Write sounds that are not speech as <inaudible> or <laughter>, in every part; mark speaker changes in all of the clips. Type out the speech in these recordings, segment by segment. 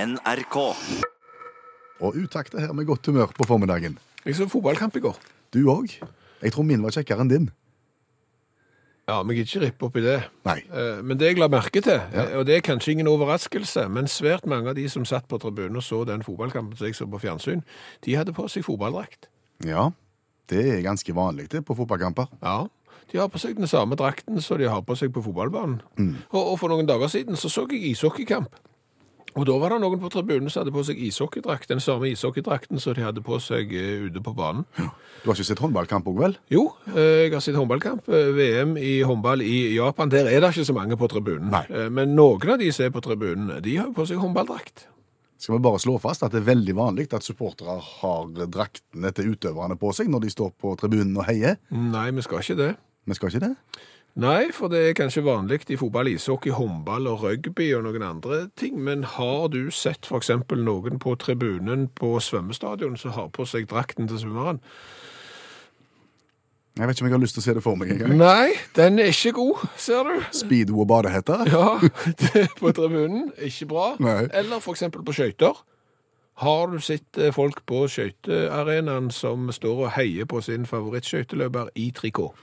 Speaker 1: NRK.
Speaker 2: Og utakte her med godt humør på formiddagen.
Speaker 3: Jeg så fotballkamp i går.
Speaker 2: Du òg? Jeg tror min var kjekkere enn din.
Speaker 3: Ja, vi gidder ikke rippe opp i det.
Speaker 2: Nei.
Speaker 3: Eh, Men det jeg la merke til, eh, og det er kanskje ingen overraskelse, men svært mange av de som satt på tribunen og så den fotballkampen som jeg så på fjernsyn, de hadde på seg fotballdrakt.
Speaker 2: Ja, det er ganske vanlig det på fotballkamper.
Speaker 3: Ja. De har på seg den samme drakten som de har på seg på fotballbanen. Og, og for noen dager siden så så jeg ishockeykamp. Og da var det noen på tribunen som hadde på seg ishockeydrakt, den samme ishockeydrakten som de hadde på seg eh, ute på banen.
Speaker 2: Du har ikke sett håndballkamp òg, vel?
Speaker 3: Jo, eh, jeg har sett håndballkamp. eh, VM i håndball i Japan. Der er det ikke så mange på tribunen.
Speaker 2: Nei.
Speaker 3: Eh, Men noen av de som er på tribunen, de har jo på seg håndballdrakt.
Speaker 2: Skal vi bare slå fast at det er veldig vanlig at supportere har draktene til utøverne på seg når de står på tribunen og heier.
Speaker 3: Nei, vi skal ikke det.
Speaker 2: Men skal ikke det?
Speaker 3: Nei, for det er kanskje vanlig i fotball, ishockey, håndball og rugby og noen andre ting. Men har du sett f.eks. noen på tribunen på svømmestadion som har på seg drakten til svømmeren?
Speaker 2: Jeg vet ikke om jeg har lyst til å se det for meg engang.
Speaker 3: Nei, den er ikke god, ser du.
Speaker 2: Speedo og badehetter?
Speaker 3: Ja, <laughs> det er på tribunen. Ikke bra.
Speaker 2: Nei.
Speaker 3: Eller for eksempel på skøyter. Har du sett eh, folk på skøytearenaen som står og heier på sin favorittskøyteløper i trikot?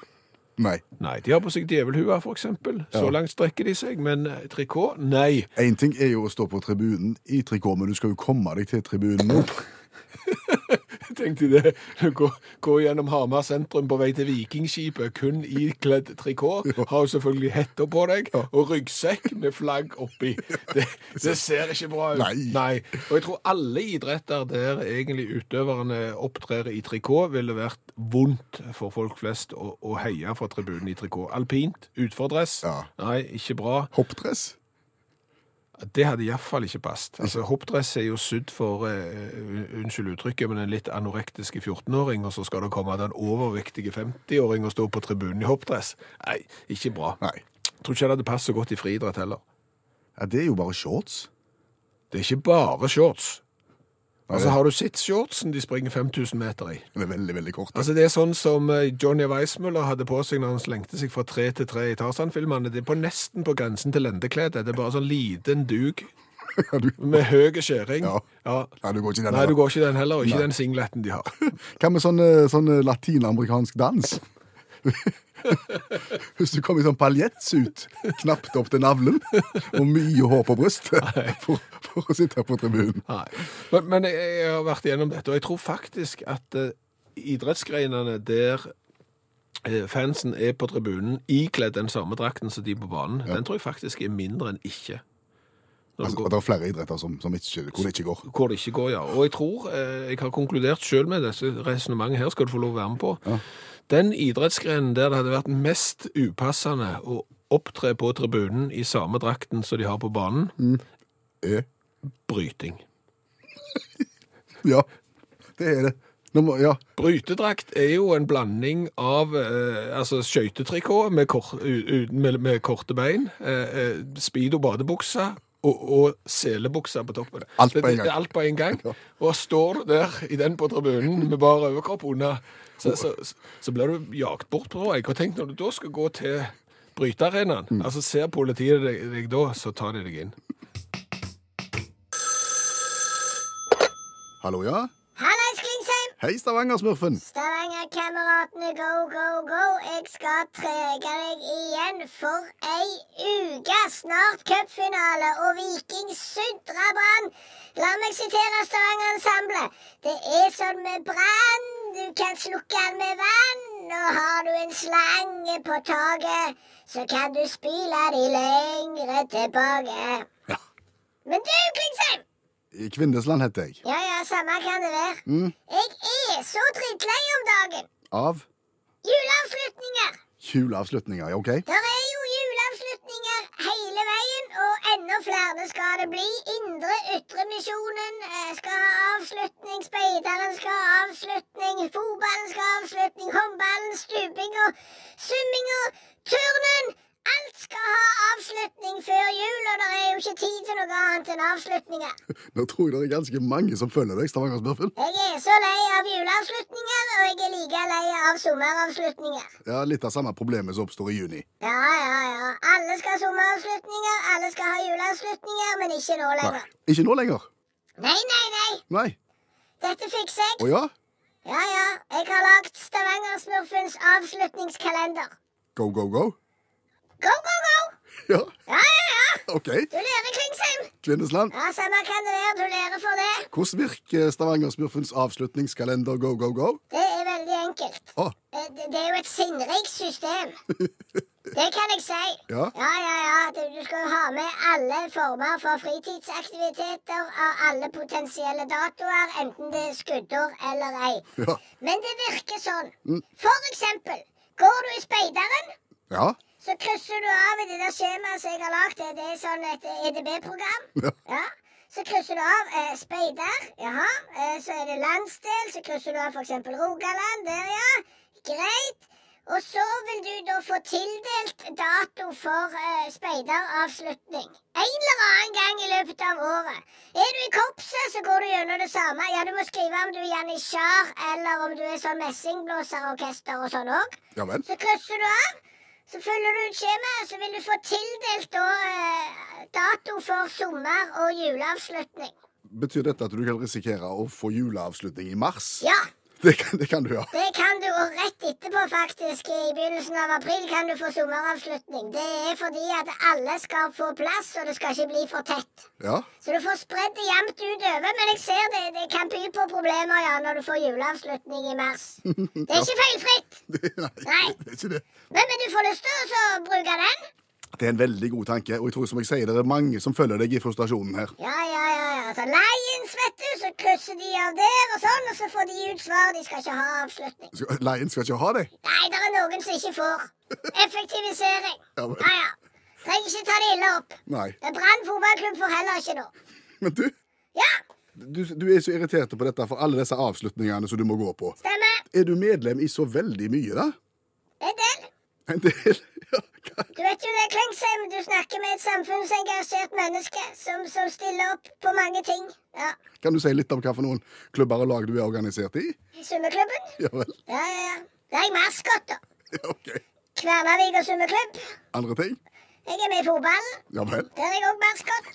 Speaker 2: Nei.
Speaker 3: Nei, de har på seg djevelhua, for eksempel. Så langt strekker de seg, men eh, trikot? Nei.
Speaker 2: Én ting er jo å stå på tribunen i trikot, men du skal jo komme deg til tribunen nå.
Speaker 3: Jeg <laughs> tenkte det. Gå, gå gjennom Hamar sentrum på vei til Vikingskipet, kun ikledd trikot. Har jo selvfølgelig hetta på deg, og ryggsekk med flagg
Speaker 2: <laughs>
Speaker 3: oppi. Det, det ser ikke bra ut.
Speaker 2: Nei.
Speaker 3: Og jeg tror alle idretter der egentlig utøverne opptrer i trikot, ville vært vondt for folk flest å, å heie fra tribunen i trikot. Alpint, utfordress.
Speaker 2: Ja.
Speaker 3: Nei, ikke bra.
Speaker 2: Hoppdress?
Speaker 3: Det hadde iallfall ikke passet. Altså, Hoppdress er jo sydd for eh, un- unnskyld uttrykket, men en litt anorektiske 14-åring, og så skal det komme den overvektige 50-åring og stå på tribunen i hoppdress. Nei, ikke bra.
Speaker 2: Nei.
Speaker 3: Tror ikke det hadde passet så godt i friidrett heller.
Speaker 2: Ja, det er jo bare shorts.
Speaker 3: Det er ikke bare shorts.
Speaker 2: Nei,
Speaker 3: Altså,
Speaker 2: det-
Speaker 3: Har du sett shortsen de springer 5000 meter i?
Speaker 2: Det er veldig, veldig kort. <laughs>
Speaker 3: Altså, Det er sånn som eh, Johnny Weissmuller hadde på seg når han slengte seg fra tre til tre i Tarzan-filmene. Det er på nesten på grensen til lendeklede. Det er bare sånn liten duk
Speaker 2: Ja, du,
Speaker 3: med høy skjæring.
Speaker 2: Ja.
Speaker 3: ja.
Speaker 2: ja, du går ikke den
Speaker 3: Nei, du
Speaker 2: heller.
Speaker 3: går ikke den heller, og ikke den singleten de har.
Speaker 2: Hva med sånn, eh, sånn eh, latinamerikansk dans? <laughs> Hvis du kom i sånn paljettsut, knapt opp til navlen, og mye hår på brystet <laughs> for, for å sitte på tribunen.
Speaker 3: <laughs> Nei. Men, men jeg, jeg har vært igjennom dette, og jeg tror faktisk at eh, idrettsgreinene der eh, fansen er på tribunen ikledd den samme drakten som de på banen, den tror jeg faktisk er mindre enn ikke. Når det
Speaker 2: Altså,
Speaker 3: går-
Speaker 2: det er flere idretter som, som ikke, hvor det ikke går.
Speaker 3: hvor det ikke går, ja. Og jeg tror, eh, jeg har konkludert selv med disse resonemanget her, skal du få lov å være med på. Den idrettsgrenen der det hadde vært mest upassende å opptre på tribunen i samme drakten som de har på banen,
Speaker 2: Eh,
Speaker 3: bryting.
Speaker 2: Ja, det er det. Nå må, ja,
Speaker 3: Brytedrakt er jo en blanding av eh, altså skøytetrikot med, kor, u- uten- med, med korte bein, eh, eh, speedo badebuksa og, og selebuksa på toppen.
Speaker 2: Alt på
Speaker 3: Det-
Speaker 2: en
Speaker 3: det-
Speaker 2: gang.
Speaker 3: Alt på en
Speaker 2: <laughs>
Speaker 3: gang. Og står du der i den på tribunen med bare overkropp unna, så, så, så, blir du jagt bort på deg. Og tenk når du da skal gå til brytearenaen,
Speaker 2: Mm.
Speaker 3: altså ser politiet deg, deg da, så tar de deg inn.
Speaker 2: hallo, ja?
Speaker 4: Hallais, Klingsheim!
Speaker 2: Hei, Stavanger-smurfen.
Speaker 4: Stavangerkameratene, go, go, go! Jeg skal trege deg igjen for ei uke! Snart cupfinale, og Viking sudrer Brann! La meg sitere Stavanger-ensemblet. Det er som med brann, du kan slukke den med vann. Og har du en slange på taket, så kan du spyle de lengre tilbake.
Speaker 2: Ja.
Speaker 4: Men du, Klingsheim!
Speaker 2: I Kvindesland heter jeg.
Speaker 4: Ja ja, samme kan det være. Jeg er så drittlei om dagen.
Speaker 2: Av
Speaker 4: Juleavslutninger!
Speaker 2: juleavslutninger, ja, ok?
Speaker 4: Der er jo juleavslutninger hele veien, og enda flere skal det bli. Indre Ytremisjonen eh, skal ha avslutning, speideren skal ha avslutning, fotballen skal ha avslutning, håndballen, stupinga, summinga, turnen Alt skal ha avslutning før jul, og det er jo ikke tid til noe annet enn avslutninger.
Speaker 2: Nå tror jeg det er ganske mange som følger deg, Stavanger-smurfen.
Speaker 4: Jeg er så lei av juleavslutninger, og jeg er like lei av sommeravslutninger.
Speaker 2: Ja, litt av samme problemet som oppstår i juni.
Speaker 4: Ja, ja, ja. Alle skal ha sommeravslutninger, alle skal ha juleavslutninger, men ikke nå
Speaker 2: Nei.
Speaker 4: lenger.
Speaker 2: Ikke nå lenger.
Speaker 4: Nei, nei, nei.
Speaker 2: Nei.
Speaker 4: Dette fikser jeg.
Speaker 2: Å ja?
Speaker 4: Ja, ja. Jeg har lagd Stavanger-smurfens avslutningskalender.
Speaker 2: Go, go, go?
Speaker 4: Go, go, go!
Speaker 2: <laughs> Ja,
Speaker 4: Ja, ja, ja.
Speaker 2: OK.
Speaker 4: Du lærer, Klingsheim.
Speaker 2: Kvinnesland.
Speaker 4: Ja, Samme hva det er, du lærer for det.
Speaker 2: Hvordan virker Stavanger-smurfens avslutningskalender go, go, go?
Speaker 4: Det er veldig enkelt.
Speaker 2: Å,
Speaker 4: Eh, Det det er jo et sinnrikt system. Det kan jeg si.
Speaker 2: Ja.
Speaker 4: ja, ja. ja. Du, du skal jo ha med alle former for fritidsaktiviteter av alle potensielle datoer, enten det er skuddår eller ei.
Speaker 2: ja.
Speaker 4: Men det virker sånn. For eksempel, går du i speideren,
Speaker 2: Ja.
Speaker 4: så krysser du av i det der skjemaet som jeg har lagd. Det er sånn et EDB-program.
Speaker 2: Ja.
Speaker 4: Ja. Så krysser du av eh, speider. Jaha. Eh, så er det landsdel. Så krysser du av f.eks. Rogaland. Der, ja. Greit. Og så vil du da få tildelt dato for eh, speideravslutning. En eller annen gang i løpet av året. Er du i korpset, så går du gjennom det samme. Ja, du må skrive om du er janitsjar, eller om du er sånn messingblåserorkester og sånn òg.
Speaker 2: Ja vel.
Speaker 4: Så krysser du av. Så følger du ut skjemaet, så vil du få tildelt da, eh, dato for sommer- og juleavslutning.
Speaker 2: Betyr dette at du kan risikere å få juleavslutning i mars?
Speaker 4: Ja,
Speaker 2: Det kan, det kan du, ja.
Speaker 4: det kan du, og rett etterpå faktisk, i begynnelsen av april, kan du få sommeravslutning. Det er fordi at alle skal få plass, og det skal ikke bli for tett.
Speaker 2: Ja. <laughs>
Speaker 4: Så du får spredd det jevnt utover, men jeg ser det, det kan by på problemer ja, når du får juleavslutning i mars. Det er ikke feilfritt,
Speaker 2: Det, nei,
Speaker 4: Nei.
Speaker 2: det er ikke det.
Speaker 4: men men du får lyst til å så bruke den.
Speaker 2: Det er en veldig god tanke, og jeg tror som jeg sier, det er mange som følger deg i frustrasjonen her.
Speaker 4: Ja, ja, ja. ja. Så Lions, vet du, så krysser de av der og sånn, og så får de ut svar. De skal ikke ha avslutning.
Speaker 2: Skal- Lion skal ikke ha det.
Speaker 4: Nei, det er noen som ikke får. Effektivisering.
Speaker 2: Ja,
Speaker 4: Ja,
Speaker 2: men-
Speaker 4: ja. Trenger ikke ta det ille opp.
Speaker 2: Nei.
Speaker 4: Brann fotballklubb får heller ikke nå.
Speaker 2: Men du,
Speaker 4: Ja,
Speaker 2: du, du er så irritert på dette for alle disse avslutningene som du må gå på.
Speaker 4: stemmer.
Speaker 2: Er du medlem i så veldig mye, da?
Speaker 4: En del.
Speaker 2: En del? <laughs> Ja, hva-
Speaker 4: Du vet jo det, Klingsheim. Du snakker med et samfunnsengasjert menneske som, som stiller opp på mange ting. Ja.
Speaker 2: Kan du si litt om hva for noen klubber og lag du er organisert i? <laughs>
Speaker 4: Summeklubben?
Speaker 2: Ja vel?
Speaker 4: Ja, ja, ja. Det er jeg maskot, da.
Speaker 2: Ja, OK.
Speaker 4: Kvernavik og summeklubb.
Speaker 2: Andre ting?
Speaker 4: Jeg er med i fotballen.
Speaker 2: Ja vel.
Speaker 4: Der er jeg òg maskot.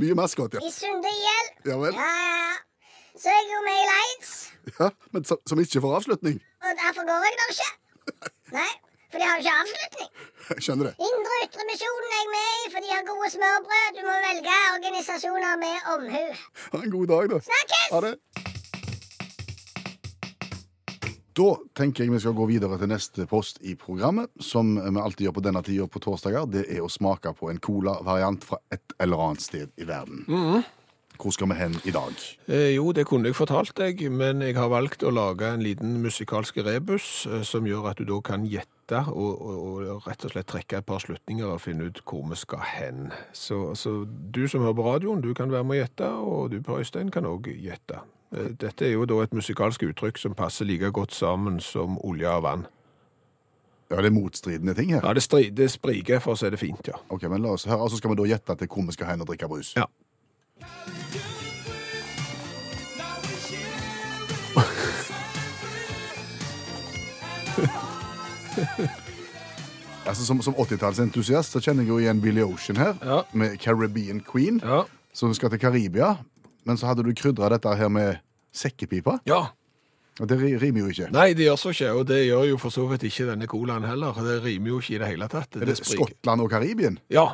Speaker 2: Mye maskot, ja.
Speaker 4: I Sunde IL.
Speaker 2: Ja vel.
Speaker 4: Ja, ja, ja. Så er jeg jo med i Lions,
Speaker 2: ja. Men som, som ikke får avslutning? <laughs>
Speaker 4: og derfor går jeg der ikke. Nei, for de har jo ikke avslutning.
Speaker 2: Jeg skjønner det.
Speaker 4: Indre og Ytre Misjonen er jeg med i, for de har gode smørbrød. Du må velge organisasjoner med omhu.
Speaker 2: Ha en god dag, da.
Speaker 4: Snakkes!
Speaker 2: Ha det. Da tenker jeg vi skal gå videre til neste post i programmet, som vi alltid gjør på denne tida på torsdager. Det er å smake på en cola-variant fra et eller annet sted i verden. Hvor skal vi hen i dag?
Speaker 3: Eh, jo, det kunne jeg fortalt deg, men jeg har valgt å lage en liten musikalsk rebus eh, som gjør at du da kan gjette og, og, og rett og slett trekke et par slutninger og finne ut hvor vi skal hen. Så, så du som hører på radioen, du kan være med å gjette, og du Per Øystein kan òg gjette. Eh, Dette er jo da et musikalsk uttrykk som passer like godt sammen som olje og vann.
Speaker 2: Ja, Det er motstridende ting her.
Speaker 3: Ja, det, stri- det spriker, for å si det fint, ja.
Speaker 2: Ok, men la oss høre, og Så skal vi da gjette til hvor vi skal hen og drikke brus.
Speaker 3: Ja.
Speaker 2: Altså, Som, som 80-tallsentusiast så kjenner jeg jo igjen Billy Ocean her,
Speaker 3: Ja.
Speaker 2: med Caribbean Queen,
Speaker 3: Ja.
Speaker 2: som skal til Karibia. Men så hadde du krydra dette her med sekkepipa.
Speaker 3: ja.
Speaker 2: Og det ri- rimer jo ikke.
Speaker 3: Nei, det gjør så ikke, og det gjør jo for så vidt ikke denne colaen heller. Det rimer jo ikke i det hele tatt.
Speaker 2: Er det
Speaker 3: spriker.
Speaker 2: Skottland og
Speaker 3: <laughs>
Speaker 2: Karibien?
Speaker 3: Ja.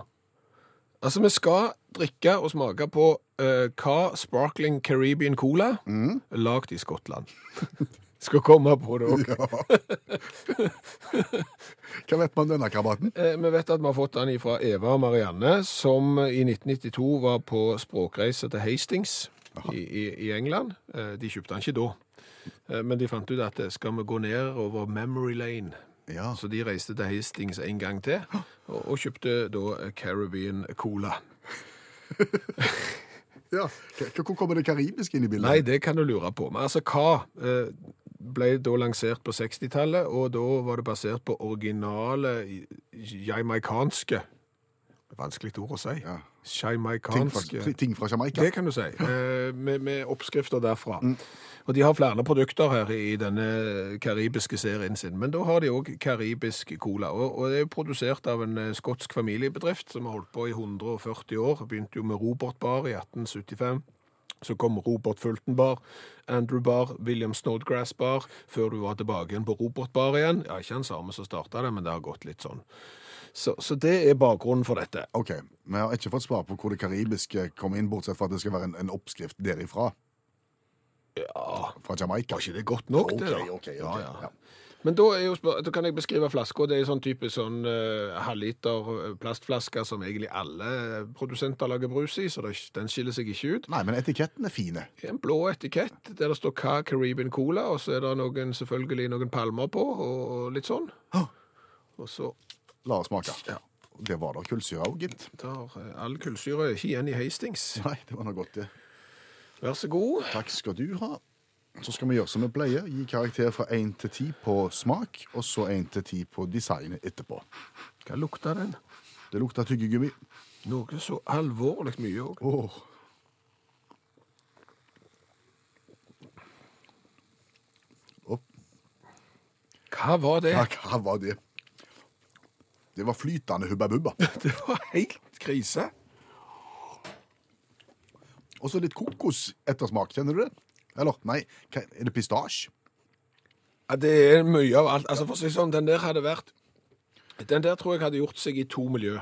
Speaker 3: Altså, vi skal drikke og smake på eh, hva Sparkling Caribbean Cola
Speaker 2: Mm.
Speaker 3: lagd i Skottland. <laughs> skal komme på det òg.
Speaker 2: Ja. Hva vet man om denne krabaten?
Speaker 3: Eh, Vi vet at vi har fått den fra Eva og Marianne, som i 1992 var på språkreise til Hastings i, i, i England. Eh, De kjøpte den ikke da, Eh, men de fant ut at eh, skal vi gå ned over Memory Lane?
Speaker 2: Ja.
Speaker 3: Så de reiste til Hastings en gang til, og, og kjøpte da eh, Caribbean Cola.
Speaker 2: ja. K- Hvor kommer det karibiske inn i bildet?
Speaker 3: Nei, det kan du lure på. Men altså, hva eh, ble da lansert på 60-tallet, og da var det basert på originale i- jamaicanske Vanskelig ord å si.
Speaker 2: Ja. Ting fra,
Speaker 3: Jamaicanske
Speaker 2: ting fra Jamaica.
Speaker 3: Det kan du si. eh, Med, med oppskrifter derfra.
Speaker 2: Mm.
Speaker 3: Og de har flere produkter her i denne karibiske serien sin. Men da har de òg karibisk cola. Og, og det er jo produsert av en eh, skotsk familiebedrift som har holdt på i 140 år. Begynte jo med Robert Bar i 1875. Så kom Robert Fulton Bar, Andrew Bar, William Snodgrass Bar, før du var tilbake igjen på Robert Bar igjen. Ja, ikke han samme som starta det, men det har gått litt sånn. Så, så det er bakgrunnen for dette.
Speaker 2: OK. Vi har ikke fått svar på hvor det karibiske kom inn, bortsett fra at det skal være en, en oppskrift derifra.
Speaker 3: Ja,
Speaker 2: Fra Jamaica.
Speaker 3: Var ikke det godt nok,
Speaker 2: OK,
Speaker 3: det da?
Speaker 2: OK. ok,
Speaker 3: Ja, ja.
Speaker 2: ja.
Speaker 3: Men da, er jo, spør- da kan jeg beskrive flaska. Det er en sånn type sånn eh, halvliter eh, plastflaske som egentlig alle produsenter lager brus i, så det, den skiller seg ikke ut.
Speaker 2: Nei, men etiketten er fine.
Speaker 3: En blå etikett der det står Ca Caribbean Cola, og så er det noen, selvfølgelig noen palmer på, og, og litt sånn. Og så
Speaker 2: La oss smake.
Speaker 3: Ja.
Speaker 2: Det var da kullsyre òg, gitt.
Speaker 3: tar eh, all kullsyre ikke igjen i Hastings.
Speaker 2: Nei, det var noe godt, det.
Speaker 3: Vær så god.
Speaker 2: Takk skal du ha. Så skal vi gjøre som vi pleier. Gi karakter fra 1 til 10 på smak, og så 1 til 10 på designet etterpå.
Speaker 3: Hva lukter den?
Speaker 2: Det lukter tyggegummi.
Speaker 3: Noe så alvorlig mye òg.
Speaker 2: Åh. Opp.
Speaker 3: Hva var det?
Speaker 2: Ja, hva var det? Det var flytende hubba bubba.
Speaker 3: <laughs> Det var helt krise.
Speaker 2: Og så litt kokos ettersmak, kjenner du det? Eller, nei, hva- er det pistasje? <laughs>
Speaker 3: Ja, det er mye av alt. Altså, for å si det sånn, den der hadde vært Den der tror jeg hadde gjort seg i to miljø.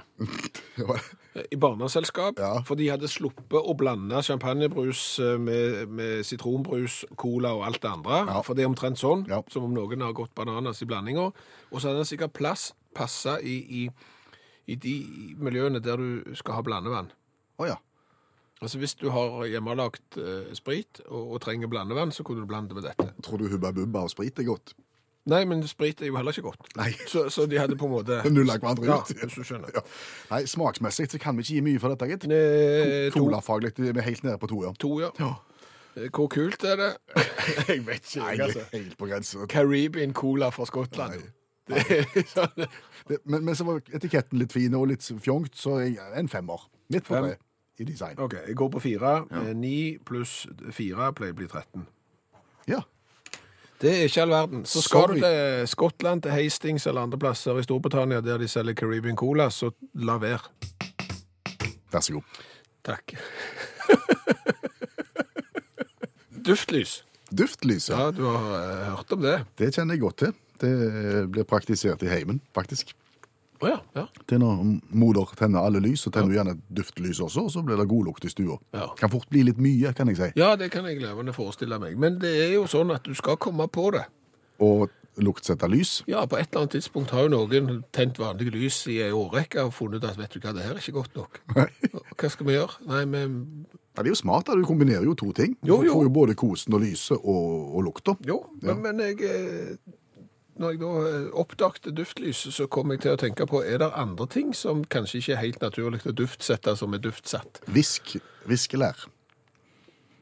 Speaker 2: Det var-
Speaker 3: I barneselskap,
Speaker 2: Ja.
Speaker 3: for de hadde sluppet å blande champagnebrus eh, med, med sitronbrus, cola og alt det andre.
Speaker 2: Ja.
Speaker 3: For det er omtrent sånn,
Speaker 2: Ja.
Speaker 3: som om noen har gått bananas i blandinger. Og så hadde den sikkert plass passa i, i, i de miljøene der du skal ha blandevann.
Speaker 2: Å ja.
Speaker 3: Altså Hvis du har hjemmelagt eh, sprit og, og trenger blandevann, så kunne du blande med dette.
Speaker 2: Tror du hubba bubba og sprit er godt? <laughs>
Speaker 3: Nei, men sprit er jo heller ikke godt.
Speaker 2: Nei.
Speaker 3: Så, så de hadde på en <laughs> måte
Speaker 2: Nulla hverandre
Speaker 3: Ja,
Speaker 2: ut.
Speaker 3: hvis du <laughs> skjønner.
Speaker 2: <laughs> Ja. Nei, smaksmessig så kan vi ikke gi mye for dette, gitt.
Speaker 3: Eh, to,
Speaker 2: Colafaglig vi er helt nede på to, ja.
Speaker 3: to, ja. Eh, Hvor kult er det? <laughs> jeg altså. vet ikke.
Speaker 2: Nei, det er helt på grensen.
Speaker 3: Caribbean Cola fra Skottland. <laughs> Det er sånn
Speaker 2: Det, men, men så var etiketten litt fin og litt fjongt, så jeg en femmer. Midt på
Speaker 3: Fem.
Speaker 2: tre i design.
Speaker 3: OK, jeg går på fire. Eh, Ni pluss fire pleier å bli 13.
Speaker 2: Ja.
Speaker 3: Det er ikke all verden. Så skal
Speaker 2: Sorry.
Speaker 3: du til Skottland, til Hastings eller andre plasser i Storbritannia der de selger Caribbean Cola, så la være.
Speaker 2: Vær så god.
Speaker 3: Takk. <laughs> Duftlys.
Speaker 2: Duftlys, ja.
Speaker 3: Ja, du har eh, hørt om det?
Speaker 2: Det kjenner jeg godt til. Det eh, blir praktisert i heimen, faktisk.
Speaker 3: Å ja. ja.
Speaker 2: Det er når moder tenner alle lys, så tenner hun gjerne et duftlys også, og så blir det godlukt i stua.
Speaker 3: Ja.
Speaker 2: Kan fort bli litt mye, kan jeg si.
Speaker 3: Ja, det kan jeg levende forestille meg. Men det er jo sånn at du skal komme på det.
Speaker 2: Og luktsette lys.
Speaker 3: Ja, på et eller annet tidspunkt har jo noen tent vanlige lys i ei årrekke og funnet ut at vet du hva, det her er ikke godt nok.
Speaker 2: Nei.
Speaker 3: Hva skal vi gjøre? Nei, men
Speaker 2: Ja, det er jo smart, da. Du kombinerer jo to ting. Du
Speaker 3: Jo, jo.
Speaker 2: får jo både kosen og lyset og, og lukta.
Speaker 3: Jo,
Speaker 2: Ja.
Speaker 3: men, men jeg eh, Når jeg da eh, oppdagte duftlyset, så kom jeg til å tenke på er det andre ting som kanskje ikke er helt naturlig å duftsette som er duftsatt.
Speaker 2: Visk. Viskelær.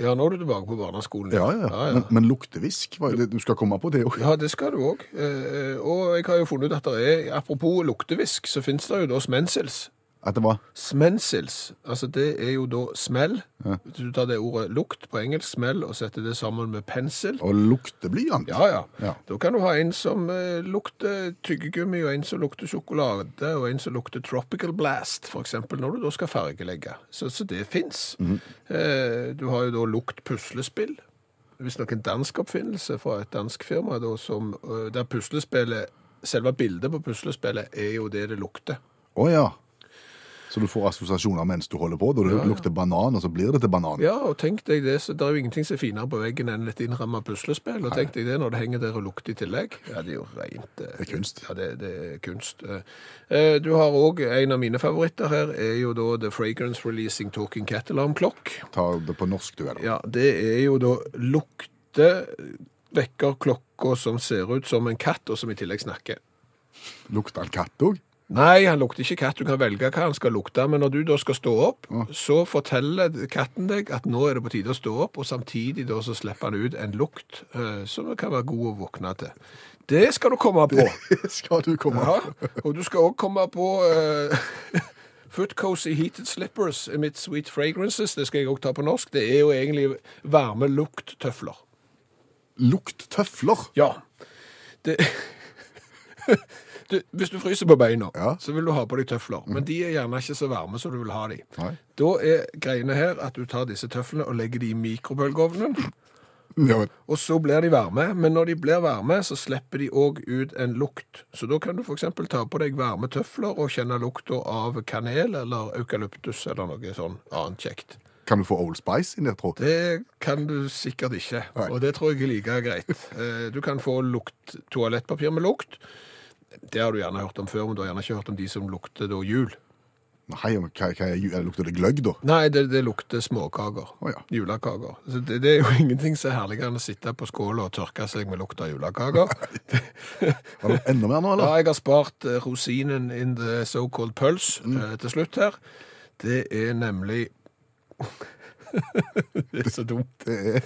Speaker 3: Ja, nå er du tilbake på barneskolen.
Speaker 2: Ja, ja, ja.
Speaker 3: ja,
Speaker 2: Men, men luktevisk, var jo det du skal komme på det òg.
Speaker 3: Ja, det skal du òg. Eh, og jeg har jo funnet ut at det er Apropos luktevisk, så fins det jo da smensels.
Speaker 2: At det var
Speaker 3: Smensils, altså det er jo da smell. Hvis Du tar det ordet lukt på engelsk, smell, og setter det sammen med pensel.
Speaker 2: å lukte blyant.
Speaker 3: Ja, ja,
Speaker 2: Ja.
Speaker 3: Da kan du ha en som eh, lukter tyggegummi, og en som lukter sjokolade, og en som lukter tropical blast, for eksempel, når du da skal fargelegge. Så, så det fins. eh, du har jo da lukt puslespill. Visstnok en dansk oppfinnelse fra et dansk firma da, som, eh, der puslespillet, selve bildet på puslespillet er jo det det lukter.
Speaker 2: Å ja. Så du får assosiasjoner mens du holder på. Da det lukter banan, og så blir det til banan.
Speaker 3: Ja, og tenk deg det, så det er jo ingenting som er finere på veggen enn et innrammet puslespill, og tenk deg det når det henger der og lukter i tillegg. Ja, det er jo rent... eh,
Speaker 2: Det er kunst.
Speaker 3: Ja, det, det er kunst. eh. Eh, Du har også, en av mine favoritter her, er jo da The Fragrance Releasing Talking Cat Alarm Clock.
Speaker 2: Ta det på norsk, du, eller?
Speaker 3: Ja, det er jo da lukte vekker klokka som ser ut som en katt, og som i tillegg snakker.
Speaker 2: Lukter en katt òg?
Speaker 3: Nei, han lukter ikke katt. Du kan velge hva han skal lukte. Men når du da skal stå opp, så forteller katten deg at nå er det på tide å stå opp, og samtidig da så slipper han ut en lukt eh, som kan være god å våkne til. Det skal du komme på.
Speaker 2: <laughs> Skal du komme
Speaker 3: Ja, og du skal òg komme på eh, <laughs> Foot Cozy Heated Slippers mitt Sweet Fragrances. Det skal jeg òg ta på norsk. Det er jo egentlig varme lukttøfler.
Speaker 2: Lukttøfler.
Speaker 3: Ja. Det <laughs> du, Hvis du fryser på beina,
Speaker 2: Ja. Mhm.
Speaker 3: så vil du ha på deg tøfler. Men de er gjerne ikke så varme som du vil ha de.
Speaker 2: Nei.
Speaker 3: Da er greiene her at du tar disse tøflene og legger de i mikrobølgeovnen.
Speaker 2: Ja, vel.
Speaker 3: Og så blir de varme, men når de blir varme, så slipper de òg ut en lukt. Så da kan du f.eks. ta på deg varme tøfler og kjenne lukta av kanel eller eukalyptus eller noe sånn annet kjekt.
Speaker 2: Kan du få Old Spice inn der, tro?
Speaker 3: Det kan du sikkert ikke,
Speaker 2: Nei.
Speaker 3: og det tror jeg er like greit. Eh, Du kan få lukt, toalettpapir med lukt. Det har du gjerne hørt om før, men du har gjerne ikke hørt om de som lukter da jul.
Speaker 2: Nei, men hva, hva er, ju- lukter det gløgg, da?
Speaker 3: Nei, det, det lukter småkaker.
Speaker 2: Å, ja.
Speaker 3: Julekaker. Så det, det er jo <laughs> ingenting som er herligere enn å sitte på skåla og tørke seg med lukt av
Speaker 2: <laughs>
Speaker 3: julekaker.
Speaker 2: Var det enda mer nå,
Speaker 3: Ja,
Speaker 2: eller?
Speaker 3: jeg har spart eh, rosinen in the so-called pulse
Speaker 2: Mm.
Speaker 3: eh, til slutt her. Det er
Speaker 2: <laughs>
Speaker 3: nemlig Det er så dumt.
Speaker 2: Det er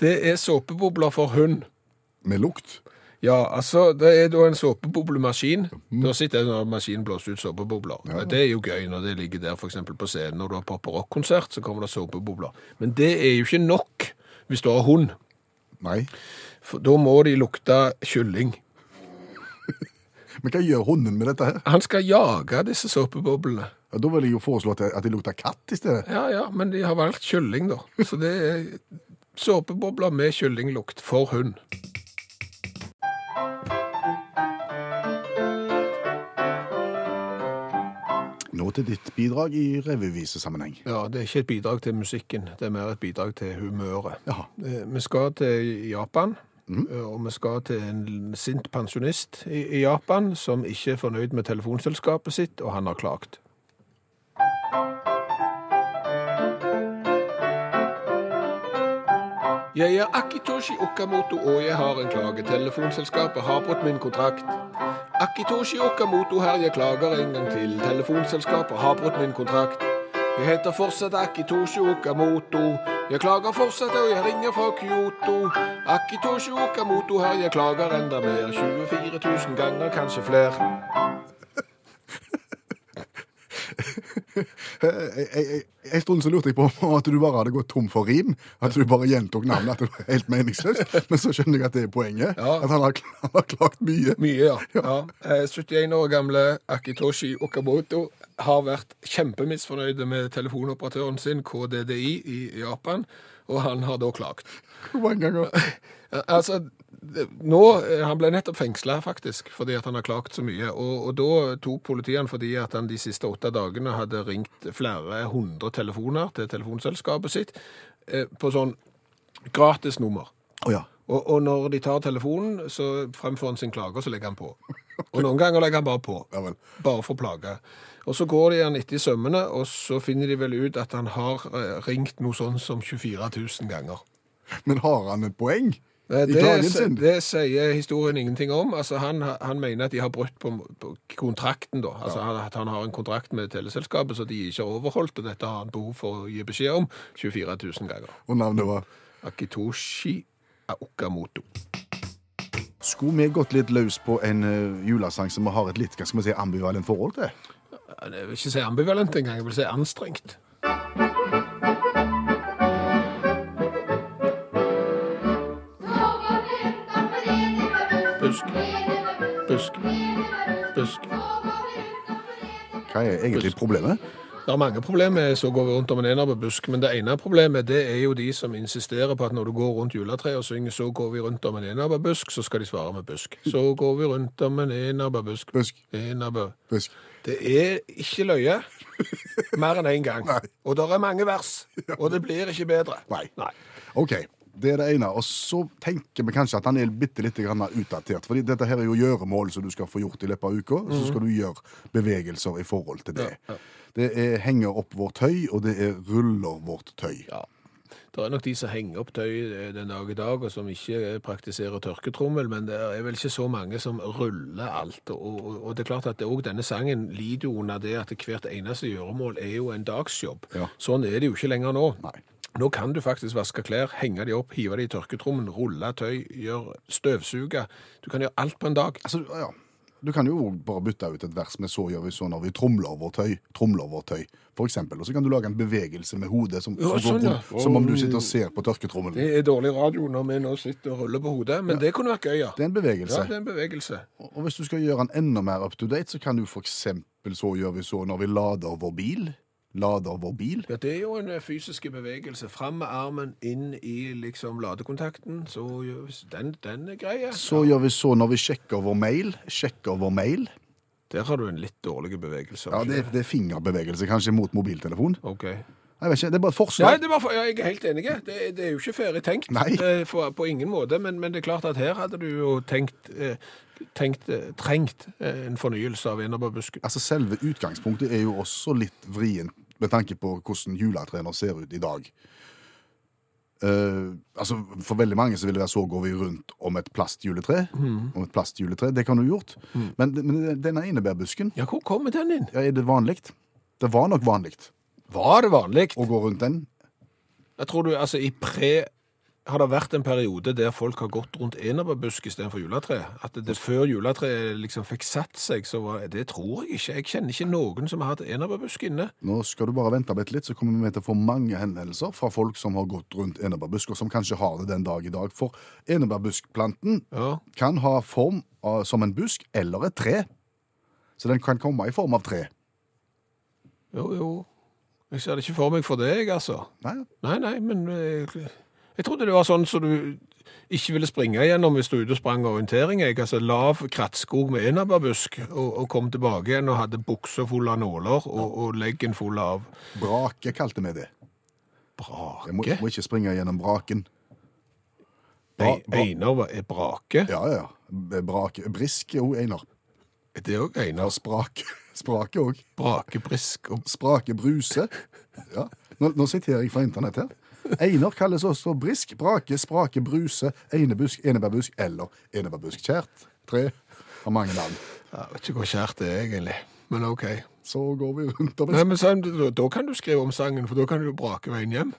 Speaker 3: Det er såpebobler for hund.
Speaker 2: med lukt.
Speaker 3: Ja, altså, det er da en såpeboblemaskin. Da sitter en av maskinen og blåser ut såpebobler. Det er jo gøy når det ligger der for eksempel på scenen når du har pop- og rock-konsert, så kommer det såpebobler. Men det er jo ikke nok hvis du har hund.
Speaker 2: Nei.
Speaker 3: For da må de lukte kylling.
Speaker 2: Men hva gjør hunden med dette her?
Speaker 3: Han skal jage disse såpeboblene.
Speaker 2: Ja, Da vil jeg jo foreslå at, at de lukter katt i stedet.
Speaker 3: Ja, ja, men de har valgt kylling, da. Så det er såpebobler med kyllinglukt for hund.
Speaker 2: Nå til ditt bidrag i revyvisesammenheng.
Speaker 3: Ja, det er ikke et bidrag til musikken, det er mer et bidrag til humøret.
Speaker 2: Ja.
Speaker 3: Eh, Vi skal til Japan, eh, og vi skal til en sint pensjonist i i Japan som ikke er fornøyd med telefonselskapet sitt, og han har klagt. Jeg er Akitoshi Okamoto, og jeg har en klage. Telefonselskapet har brutt min kontrakt. Akitoshi Okamoto her, jeg klager en gang til. Telefonselskapet har brutt min kontrakt. Jeg heter fortsatt Akitoshi Okamoto. Jeg klager fortsatt, og jeg ringer fra Kyoto. Akitoshi Okamoto her, jeg klager enda mer. 24 000 ganger, kanskje flere.
Speaker 2: <laughs> Eh, eh, eh, En stund så lurte jeg på om at du bare hadde gått tom for rim. At du bare gjentok navnet. At det var helt meningsløst. <laughs> Men så skjønner jeg at det er poenget.
Speaker 3: Ja.
Speaker 2: At han har, kl- han har klagt mye.
Speaker 3: Mye, ja. ja. Eh, 71 år gamle Akitoshi Okamoto har vært kjempemisfornøyd med telefonoperatøren sin, KDDI, i Japan, og han har da klagt.
Speaker 2: Hvor mange ganger?
Speaker 3: Eh, <laughs> Altså, det- nå, eh, Han ble nettopp fengsla, faktisk, fordi at han har klagt så mye. Og, og da tok politiet han fordi at han de siste åtte dagene hadde ringt flere hundre telefoner til telefonselskapet sitt eh, på sånn gratisnummer.
Speaker 2: Å ja.
Speaker 3: Og, og når de tar telefonen, så fremfører han sin klage, og så legger han på. Og noen ganger legger han bare på.
Speaker 2: Ja vel.
Speaker 3: Bare for plage. Og så går de han etter i sømmene, og så finner de vel ut at han har eh, ringt noe sånn som 24 000 ganger.
Speaker 2: Men har han et poeng
Speaker 3: Eh,
Speaker 2: i
Speaker 3: Det,
Speaker 2: klagen
Speaker 3: s-
Speaker 2: sin?
Speaker 3: det sier historien ingenting om. Altså, han, han mener at de har brutt på, på kontrakten, da. Altså, han- At han har en kontrakt med teleselskapet som de ikke har overholdt, og dette har han behov for å gi beskjed om 24 000 ganger.
Speaker 2: Og navnet var
Speaker 3: Akitoshi Aokamoto.
Speaker 2: Skulle vi gått litt løs på en eh, julesang som vi har et litt hva skal vi si, ambivalent forhold til?
Speaker 3: Jeg vil ikke si ambivalent engang, jeg vil si anstrengt. Busk, busk, busk.
Speaker 2: Hva er egentlig problemet?
Speaker 3: Det er mange problemer som går rundt om en ener på busk, men det ene problemet det er jo de som insisterer på at når du går rundt juletreet og synger 'Så går vi rundt om en ener på busk', så skal de svare med busk. Så går vi rundt om en ener på busk.
Speaker 2: Busk,
Speaker 3: Ener på
Speaker 2: busk.
Speaker 3: Det er ikke løye mer enn én gang.
Speaker 2: Nei.
Speaker 3: Og det er mange vers, og det blir ikke bedre.
Speaker 2: Nei. OK, det er det ene. Og så tenker vi kanskje at han er bitte litt grann utdatert. fordi dette her er jo gjøremål som du skal få gjort i løpet av uka. og Så skal du gjøre bevegelser i forhold til det. Det er henger opp vårt tøy, og det er ruller vårt tøy.
Speaker 3: Ja. Det er nok de som henger opp tøy eh, den dag i dag, og som ikke eh, praktiserer tørketrommel, men det er vel ikke så mange som ruller alt. Og, og, og det er klart at det er også denne sangen lider jo under det at hvert eneste gjøremål er jo en dagsjobb.
Speaker 2: Ja.
Speaker 3: Sånn er det jo ikke lenger nå.
Speaker 2: Nei.
Speaker 3: Nå kan du faktisk vaske klær, henge de opp, hive de i tørketrommen, rulle tøy, gjøre støvsuge. Du kan gjøre alt på en dag.
Speaker 2: Altså, ja. Du kan jo bare bytte ut et vers med 'så gjør vi så når vi tromler vår tøy', tromler vår tøy, for eksempel. Og så kan du lage en bevegelse med hodet som,
Speaker 3: Ja,
Speaker 2: som, går
Speaker 3: sånn, ja.
Speaker 2: rundt, som om du sitter og ser på tørketrommelen.
Speaker 3: Det
Speaker 2: Det,
Speaker 3: er dårlig radio når vi nå sitter og ruller på hodet, men det kunne vært gøy, ja.
Speaker 2: er en bevegelse.
Speaker 3: Ja, det er en bevegelse.
Speaker 2: Og hvis du skal gjøre den enda mer up to date, så kan du for eksempel 'så gjør vi så når vi lader vår bil'. Lader vår bil.
Speaker 3: Ja, det er jo en eh, fysisk bevegelse. Fram med armen, inn i liksom ladekontakten. Så gjør vi s- den, den er grei. ja.
Speaker 2: Så gjør vi så når vi sjekker vår mail. Sjekker vår mail.
Speaker 3: Der har du en litt dårlig bevegelse.
Speaker 2: Ja,
Speaker 3: har du
Speaker 2: det,
Speaker 3: ikke
Speaker 2: er- det er fingerbevegelse, kanskje mot mobiltelefon.
Speaker 3: Ok.
Speaker 2: Jeg vet ikke, Det er bare et
Speaker 3: Nei,
Speaker 2: forslag.
Speaker 3: det var for, ja, jeg er helt enig. Det, det er jo ikke ferdig tenkt.
Speaker 2: Nei.
Speaker 3: eh, For, på ingen måte. Men, men det er klart at her hadde du jo tenkt, eh, tenkt eh, trengt eh, en fornyelse av Enerbarbusken.
Speaker 2: Altså, Selve utgangspunktet er jo også litt vrient med tanke på hvordan juletrener ser ut i dag. Eh, altså, For veldig mange så vil det være så går vi rundt om et plastjuletre. Om et plastjuletre, Det kan du gjort. Men, men denne enebærbusken,
Speaker 3: Ja, hvor kommer den inn?
Speaker 2: ja, er det vanlig? Det var nok vanlig
Speaker 3: Var det vanlig?
Speaker 2: å gå rundt den.
Speaker 3: Jeg tror du, altså i pre... Har det vært en periode der folk har gått rundt enerbærbusk istedenfor juletre? At det før juletreet liksom fikk satt seg, så var det tror jeg ikke. Jeg kjenner ikke noen som har hatt enerbærbusk inne.
Speaker 2: Nå skal du bare vente bitte litt, så kommer vi til å få mange henvendelser fra folk som har gått rundt enebærbusk, og som kanskje har det den dag i dag. For enebærbuskplanten
Speaker 3: Ja.
Speaker 2: kan ha form av, som en busk eller et tre. Så den kan komme i form av tre.
Speaker 3: Jo, jo. Jeg ser det ikke for meg for deg, altså.
Speaker 2: Nei,
Speaker 3: Nei, nei, men eh, Jeg trodde det var sånn som du ikke ville springe igjennom hvis du er ute og sprang orientering. Jeg, altså Lav krattskog med enerbærbusk, og, og kom tilbake igjen og hadde buksa full av nåler og, og leggen full av
Speaker 2: brake kalte vi det. Jeg må,
Speaker 3: brake.
Speaker 2: må ikke springe gjennom braken. Bra-
Speaker 3: Ei-
Speaker 2: bra-
Speaker 3: Einar var- er brake.
Speaker 2: Ja, ja, ja. Brake. Brisk er òg Einar.
Speaker 3: Er Det er
Speaker 2: Og
Speaker 3: òg Einar.
Speaker 2: sprake. <laughs> Sprake òg.
Speaker 3: Brakebrisk og
Speaker 2: Sprake bruse. Ja. Nå, nå siterer jeg fra internett her. Einar kalles også brisk, brake, sprake, bruse, enebusk, enebærbusk eller enebærbuskskjært. Tre har mange navn.
Speaker 3: Jeg vet ikke hvor kjært det er, egentlig. Men OK.
Speaker 2: Så går vi rundt om
Speaker 3: Nei,
Speaker 2: et
Speaker 3: men sånn, da, da kan du skrive om sangen, for da kan du jo brake veien hjem.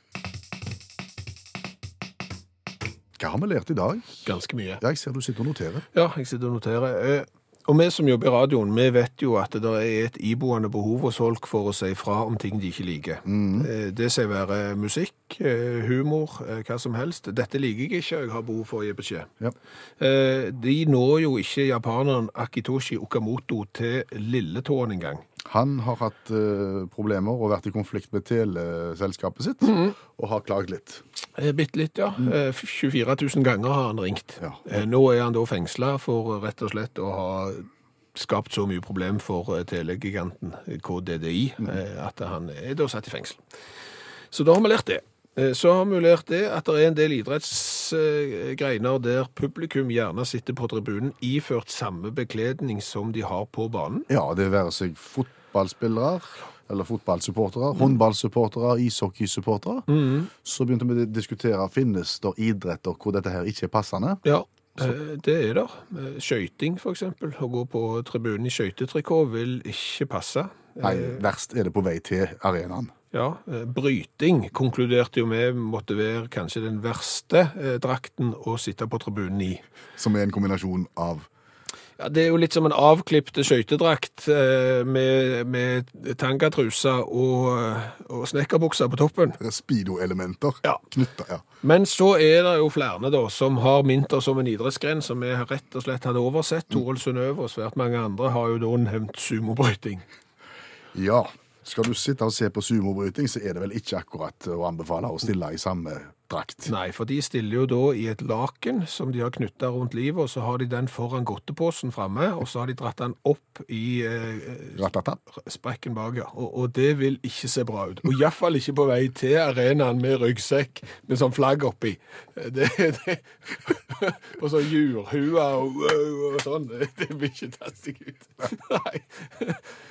Speaker 2: Hva har vi lært i dag?
Speaker 3: Ganske mye.
Speaker 2: Ja, jeg ser du sitter og noterer.
Speaker 3: Ja, jeg sitter og noterer. Eh, Og vi som jobber i radioen, vi vet jo at det der er et iboende behov hos folk for å si fra om ting de ikke liker. Eh, Det sier være musikk, eh, humor, eh, hva som helst. Dette liker jeg ikke, og jeg har behov for å gi beskjed.
Speaker 2: Ja.
Speaker 3: Eh, De når jo ikke japaneren Akitoshi Okamoto til lilletåen engang.
Speaker 2: Han har hatt eh, problemer og vært i konflikt med teleselskapet sitt, og har klagd litt.
Speaker 3: Eh, Bitte litt, ja. Eh, 24 000 ganger har han ringt.
Speaker 2: Ja.
Speaker 3: Eh, Nå er han da fengsla for eh, rett og slett å ha skapt så mye problem for eh, telegiganten eh, KDDI eh, at han er da satt i fengsel. Så da har vi lært det. Eh, Så har vi lært det at det er en del idrettsgreiner der publikum gjerne sitter på tribunen iført samme bekledning som de har på banen.
Speaker 2: Ja, det være seg fotballspillere, eller fotballsupportere, håndballsupportere, ishockeysupportere. Så begynte vi å diskutere finnes det idretter hvor dette her ikke er passende.
Speaker 3: Ja, eh, det er der. Eh, Skøyting, for eksempel. Å gå på tribunen i skøytetrikot vil ikke passe.
Speaker 2: Nei, verst er det på vei til arenaen.
Speaker 3: Ja, eh, bryting konkluderte jo med måtte være kanskje den verste eh, drakten å sitte på tribunen i.
Speaker 2: Som er en kombinasjon av
Speaker 3: Ja, Det er jo litt som en avklippt skøytedrakt eh, med, med tangatrusa og, eh, og snekkerbuksa på toppen.
Speaker 2: speedo-elementer
Speaker 3: Ja.
Speaker 2: knytta ja.
Speaker 3: Men så er det jo flere da, som har minter som en idrettsgren, som vi rett og slett hadde oversett. Toril Synnøve og svært mange andre har jo da nevnt sumobryting.
Speaker 2: ja. Skal du sitte og se på sumobryting, så er det vel ikke akkurat å anbefale å stille i samme draktdrakt.
Speaker 3: Nei, for de stiller jo da i et laken som de har knytta rundt livet, og så har de den foran godteposen framme, og så har de dratt den opp i eh,
Speaker 2: Ratata.
Speaker 3: sprekken bak, ja. Og, og det vil ikke se bra ut. Og iallfall ikke på vei til arenaen med ryggsekk med sånn flagg oppi. Eh, Det, det. <laughs> Og så jurhua og, og sånn. Det, det vil ikke ta seg ut. <laughs> Nei.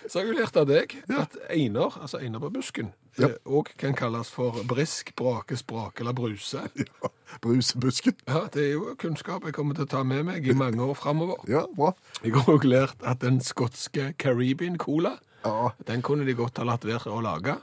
Speaker 3: Så har jeg jo lært av deg at Einar, altså Einar på busken,
Speaker 2: Ja.
Speaker 3: òg kan kalles for brisk, brake, sprake eller bruse.
Speaker 2: Ja, <laughs> Brusebusken.
Speaker 3: Ja, Det er jo kunnskap jeg kommer til å ta med meg i mange år framover.
Speaker 2: Ja, bra.
Speaker 3: Jeg har òg lært at den skotske Caribbean Cola
Speaker 2: Ja,
Speaker 3: den kunne de godt ha latt være å lage.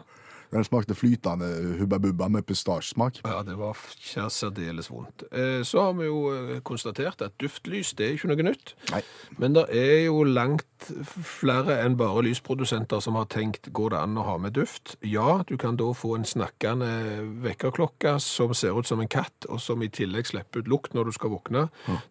Speaker 2: Den smakte flytende Hubba Bubba med pistasjesmak.
Speaker 3: Ja, det var f- ja, særdeles vondt. Eh, Så har vi jo eh, konstatert at duftlys det er ikke noe nytt.
Speaker 2: Nei.
Speaker 3: Men det er jo langt f- flere enn bare lysprodusenter som har tenkt går det an å ha med duft. Ja, du kan da få en snakkende vekkerklokke som ser ut som en katt, og som i tillegg slipper ut lukt når du skal våkne.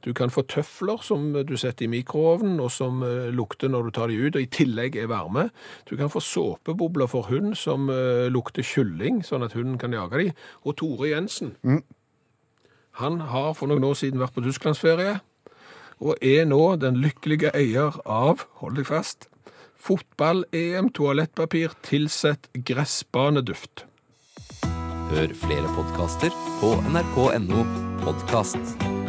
Speaker 3: Du kan få tøfler som du setter i mikroovnen, og som eh, lukter når du tar de ut, og i tillegg er varme. Du kan få såpebobler for hund som eh, lukter kylling, sånn at hunden kan jage de. Og Tore Jensen, han har for noen år siden vært på Tysklandsferie, og er nå den lykkelige eier av, hold deg fast, fotball-EM toalettpapir tilsett gressbaneduft.
Speaker 1: Hør flere podkaster på nrk.no podkast.